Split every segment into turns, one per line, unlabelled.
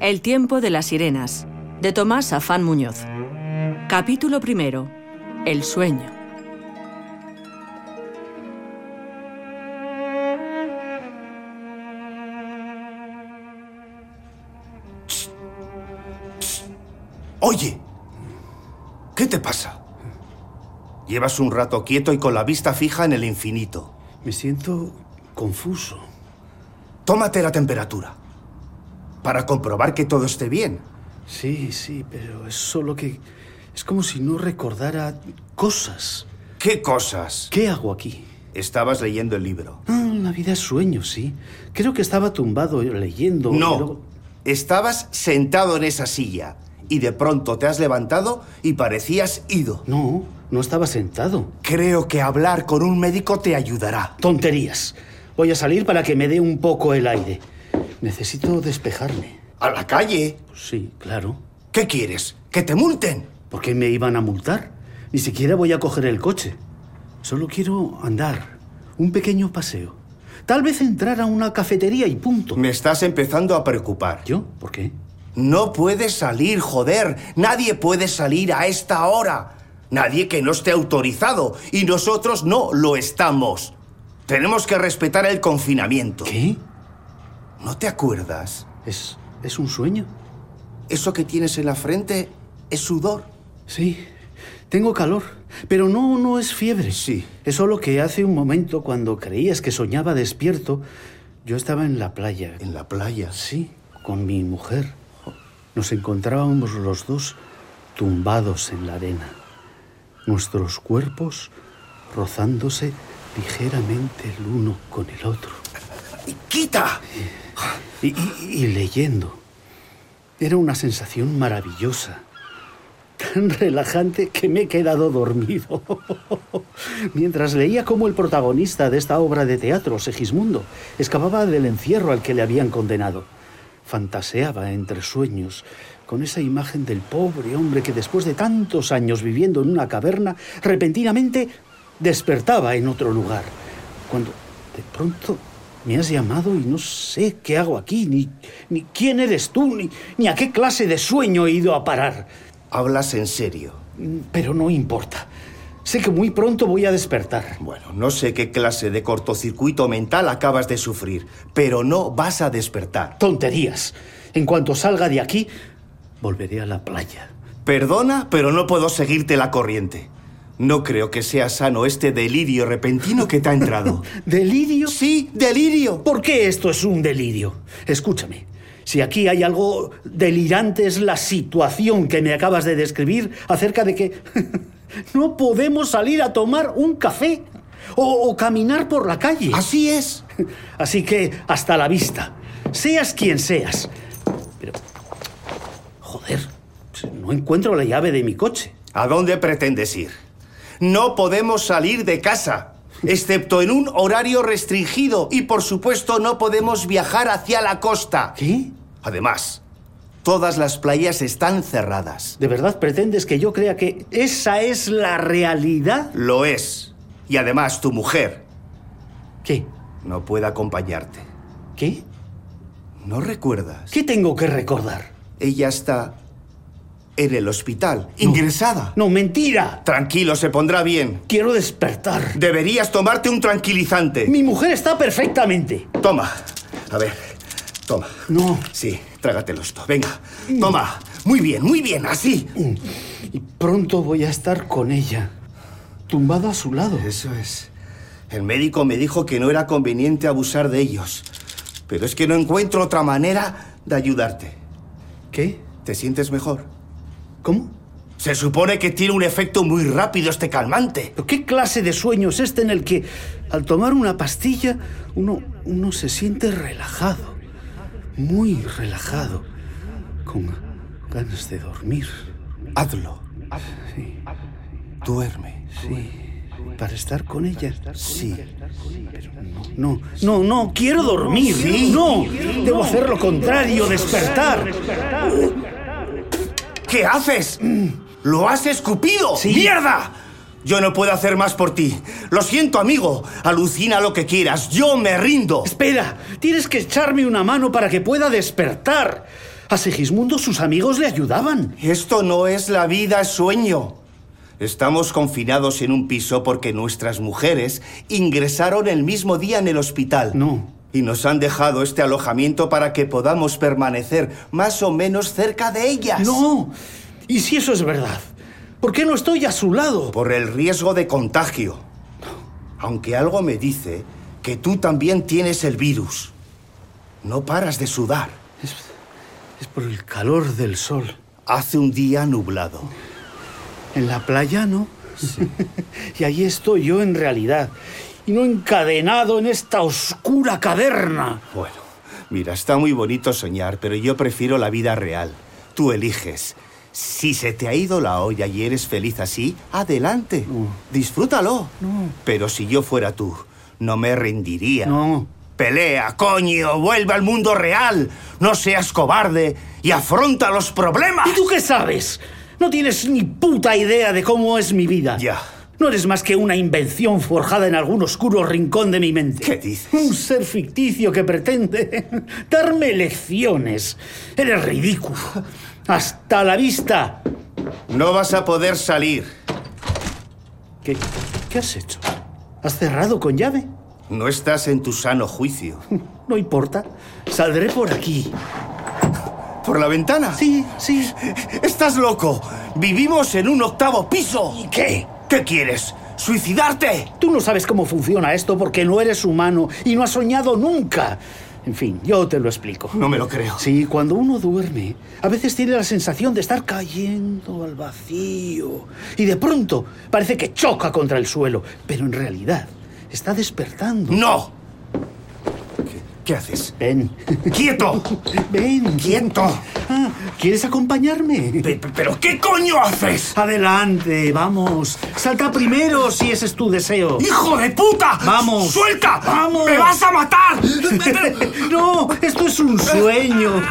El tiempo de las sirenas, de Tomás Afán Muñoz. Capítulo primero. El sueño.
Oye, ¿qué te pasa? Llevas un rato quieto y con la vista fija en el infinito.
Me siento confuso.
Tómate la temperatura para comprobar que todo esté bien.
Sí, sí, pero es solo que es como si no recordara cosas.
¿Qué cosas?
¿Qué hago aquí?
Estabas leyendo el libro.
Ah, la vida es sueño, sí. Creo que estaba tumbado leyendo.
No,
pero-
estabas sentado en esa silla y de pronto te has levantado y parecías ido.
No, no estaba sentado.
Creo que hablar con un médico te ayudará.
Tonterías. Voy a salir para que me dé un poco el aire. Necesito despejarme.
¿A la calle?
Sí, claro.
¿Qué quieres? ¿Que te multen?
¿Por qué me iban a multar? Ni siquiera voy a coger el coche. Solo quiero andar. Un pequeño paseo. Tal vez entrar a una cafetería y punto.
Me estás empezando a preocupar.
¿Yo? ¿Por qué?
No puedes salir, joder. Nadie puede salir a esta hora. Nadie que no esté autorizado. Y nosotros no lo estamos. Tenemos que respetar el confinamiento.
¿Qué?
¿No te acuerdas?
¿Es, es un sueño?
Eso que tienes en la frente es sudor.
Sí. Tengo calor. Pero no, no es fiebre.
Sí.
Es solo que hace un momento, cuando creías que soñaba despierto, yo estaba en la playa.
En la playa.
Sí, con mi mujer. Nos encontrábamos los dos tumbados en la arena, nuestros cuerpos rozándose ligeramente el uno con el otro
¡Quita!
y, y- y leyendo. Era una sensación maravillosa, tan relajante que me he quedado dormido. Mientras leía cómo el protagonista de esta obra de teatro, Segismundo, escapaba del encierro al que le habían condenado. Fantaseaba entre sueños con esa imagen del pobre hombre que después de tantos años viviendo en una caverna, repentinamente despertaba en otro lugar. Cuando de pronto me has llamado y no sé qué hago aquí, ni, ni quién eres tú, ni, ni a qué clase de sueño he ido a parar.
Hablas en serio.
Pero no importa. Sé que muy pronto voy a despertar.
Bueno, no sé qué clase de cortocircuito mental acabas de sufrir, pero no vas a despertar.
Tonterías. En cuanto salga de aquí, volveré a la playa.
Perdona, pero no puedo seguirte la corriente. No creo que sea sano este delirio repentino que te ha entrado.
¿Delirio?
Sí, delirio.
¿Por qué esto es un delirio? Escúchame, si aquí hay algo delirante es la situación que me acabas de describir acerca de que no podemos salir a tomar un café o, o caminar por la calle.
Así es.
Así que hasta la vista, seas quien seas. Pero, joder, no encuentro la llave de mi coche.
¿A dónde pretendes ir? No podemos salir de casa, excepto en un horario restringido y por supuesto no podemos viajar hacia la costa.
¿Qué?
Además, todas las playas están cerradas.
¿De verdad pretendes que yo crea que esa es la realidad?
Lo es. Y además tu mujer
¿Qué?
no puede acompañarte.
¿Qué?
¿No recuerdas?
¿Qué tengo que recordar?
Ella está en el hospital, ingresada.
No, mentira.
Tranquilo, se pondrá bien.
Quiero despertar.
Deberías tomarte un tranquilizante.
Mi mujer está perfectamente.
Toma. A ver, toma.
No.
Sí, trágatelo esto. Venga, toma. Muy bien, muy bien, así.
Y pronto voy a estar con ella. Tumbado a su lado.
Eso es. El médico me dijo que no era conveniente abusar de ellos. Pero es que no encuentro otra manera de ayudarte.
¿Qué?
¿Te sientes mejor?
¿Cómo?
Se supone que tiene un efecto muy rápido este calmante.
¿Pero ¿Qué clase de sueño es este en el que al tomar una pastilla uno, uno se siente relajado? Muy relajado. Con ganas de dormir.
Hazlo.
Sí,
Duerme.
sí. Para estar con ella.
Sí.
No, no, no, quiero dormir. No, debo hacer lo contrario, despertar.
¿Qué haces? Mm, ¡Lo has escupido!
Sí.
¡Mierda! Yo no puedo hacer más por ti. Lo siento, amigo. Alucina lo que quieras. Yo me rindo.
Espera, tienes que echarme una mano para que pueda despertar. A Segismundo sus amigos le ayudaban.
Esto no es la vida sueño. Estamos confinados en un piso porque nuestras mujeres ingresaron el mismo día en el hospital.
No.
Y nos han dejado este alojamiento para que podamos permanecer más o menos cerca de ellas.
No. ¿Y si eso es verdad? ¿Por qué no estoy a su lado?
Por el riesgo de contagio. Aunque algo me dice que tú también tienes el virus. No paras de sudar.
Es, es por el calor del sol.
Hace un día nublado.
En la playa, ¿no? y ahí estoy yo en realidad. Y no encadenado en esta oscura caverna.
Bueno, mira, está muy bonito soñar, pero yo prefiero la vida real. Tú eliges. Si se te ha ido la olla y eres feliz así, adelante.
No.
Disfrútalo.
No.
Pero si yo fuera tú, no me rendiría.
No.
Pelea, coño, vuelve al mundo real. No seas cobarde y afronta los problemas.
¿Y tú qué sabes? No tienes ni puta idea de cómo es mi vida.
Ya.
No eres más que una invención forjada en algún oscuro rincón de mi mente.
¿Qué dices?
Un ser ficticio que pretende darme lecciones. Eres ridículo. Hasta la vista.
No vas a poder salir.
¿Qué, qué has hecho? ¿Has cerrado con llave?
No estás en tu sano juicio.
No importa. Saldré por aquí.
¿Por la ventana?
Sí, sí.
¡Estás loco! ¡Vivimos en un octavo piso!
¿Y qué?
¿Qué quieres? ¿Suicidarte?
Tú no sabes cómo funciona esto porque no eres humano y no has soñado nunca. En fin, yo te lo explico.
No me lo creo.
Sí, cuando uno duerme, a veces tiene la sensación de estar cayendo al vacío. Y de pronto parece que choca contra el suelo, pero en realidad está despertando.
¡No! ¿Qué, qué haces?
Ven,
¡Quieto!
ven.
¡Quieto!
Ah, ¿Quieres acompañarme?
Pe- pe- ¿Pero qué coño haces?
Adelante, vamos. Salta primero si ese es tu deseo.
¡Hijo de puta!
Vamos.
¡Suelta!
Vamos.
¡Me vas a matar!
No, esto es un sueño.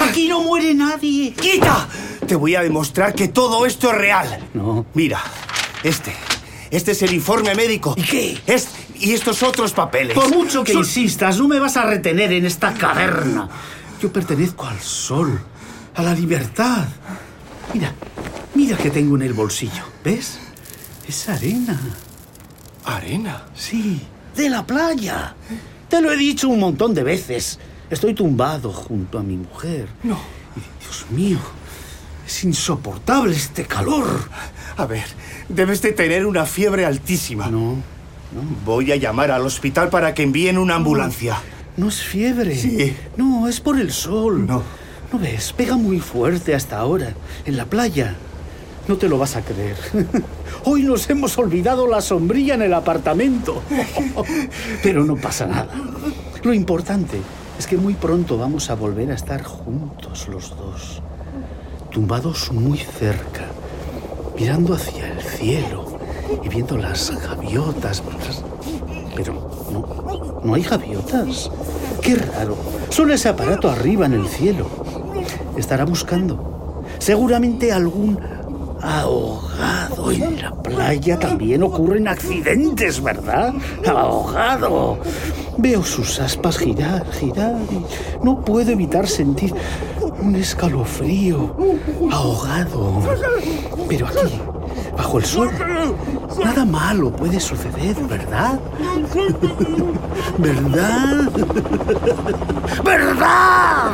Aquí no muere nadie.
¡Quita! Te voy a demostrar que todo esto es real.
No.
Mira, este. Este es el informe médico.
¿Y qué?
Es, y estos otros papeles.
Por mucho que
Son-
insistas, no me vas a retener en esta caverna. Yo pertenezco al sol, a la libertad. Mira, mira que tengo en el bolsillo. ¿Ves? Es arena.
Arena.
Sí, de la playa. Te lo he dicho un montón de veces. Estoy tumbado junto a mi mujer.
No.
Y, Dios mío, es insoportable este calor.
A ver, debes de tener una fiebre altísima.
No,
Voy a llamar al hospital para que envíen una ambulancia.
no es fiebre.
Sí.
No, es por el sol.
No.
¿No ves? Pega muy fuerte hasta ahora, en la playa. No te lo vas a creer. Hoy nos hemos olvidado la sombrilla en el apartamento. Pero no pasa nada. Lo importante es que muy pronto vamos a volver a estar juntos los dos. Tumbados muy cerca, mirando hacia el cielo y viendo las gaviotas. Pero no, no hay gaviotas. Qué raro. Solo ese aparato arriba en el cielo. Estará buscando. Seguramente algún ahogado en la playa también ocurren accidentes, ¿verdad? Ahogado. Veo sus aspas girar, girar y no puedo evitar sentir un escalofrío. Ahogado. Pero aquí, bajo el suelo, nada malo puede suceder, ¿verdad? ¿Verdad? ¿Verdad?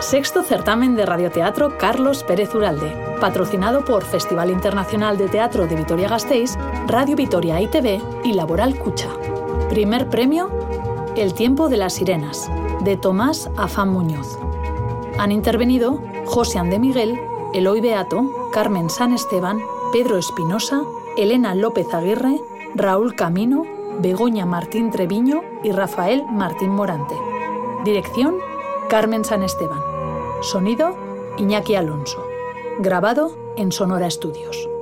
Sexto certamen de radioteatro Carlos Pérez Uralde, patrocinado por Festival Internacional de Teatro de Vitoria-Gasteiz, Radio Vitoria ITV y Laboral Cucha. Primer premio, El tiempo de las sirenas, de Tomás Afán Muñoz. Han intervenido José Andé Miguel, Eloy Beato, Carmen San Esteban, Pedro Espinosa, Elena López Aguirre, Raúl Camino, Begoña Martín Treviño y Rafael Martín Morante. Dirección, Carmen San Esteban. Sonido, Iñaki Alonso. Grabado en Sonora Estudios.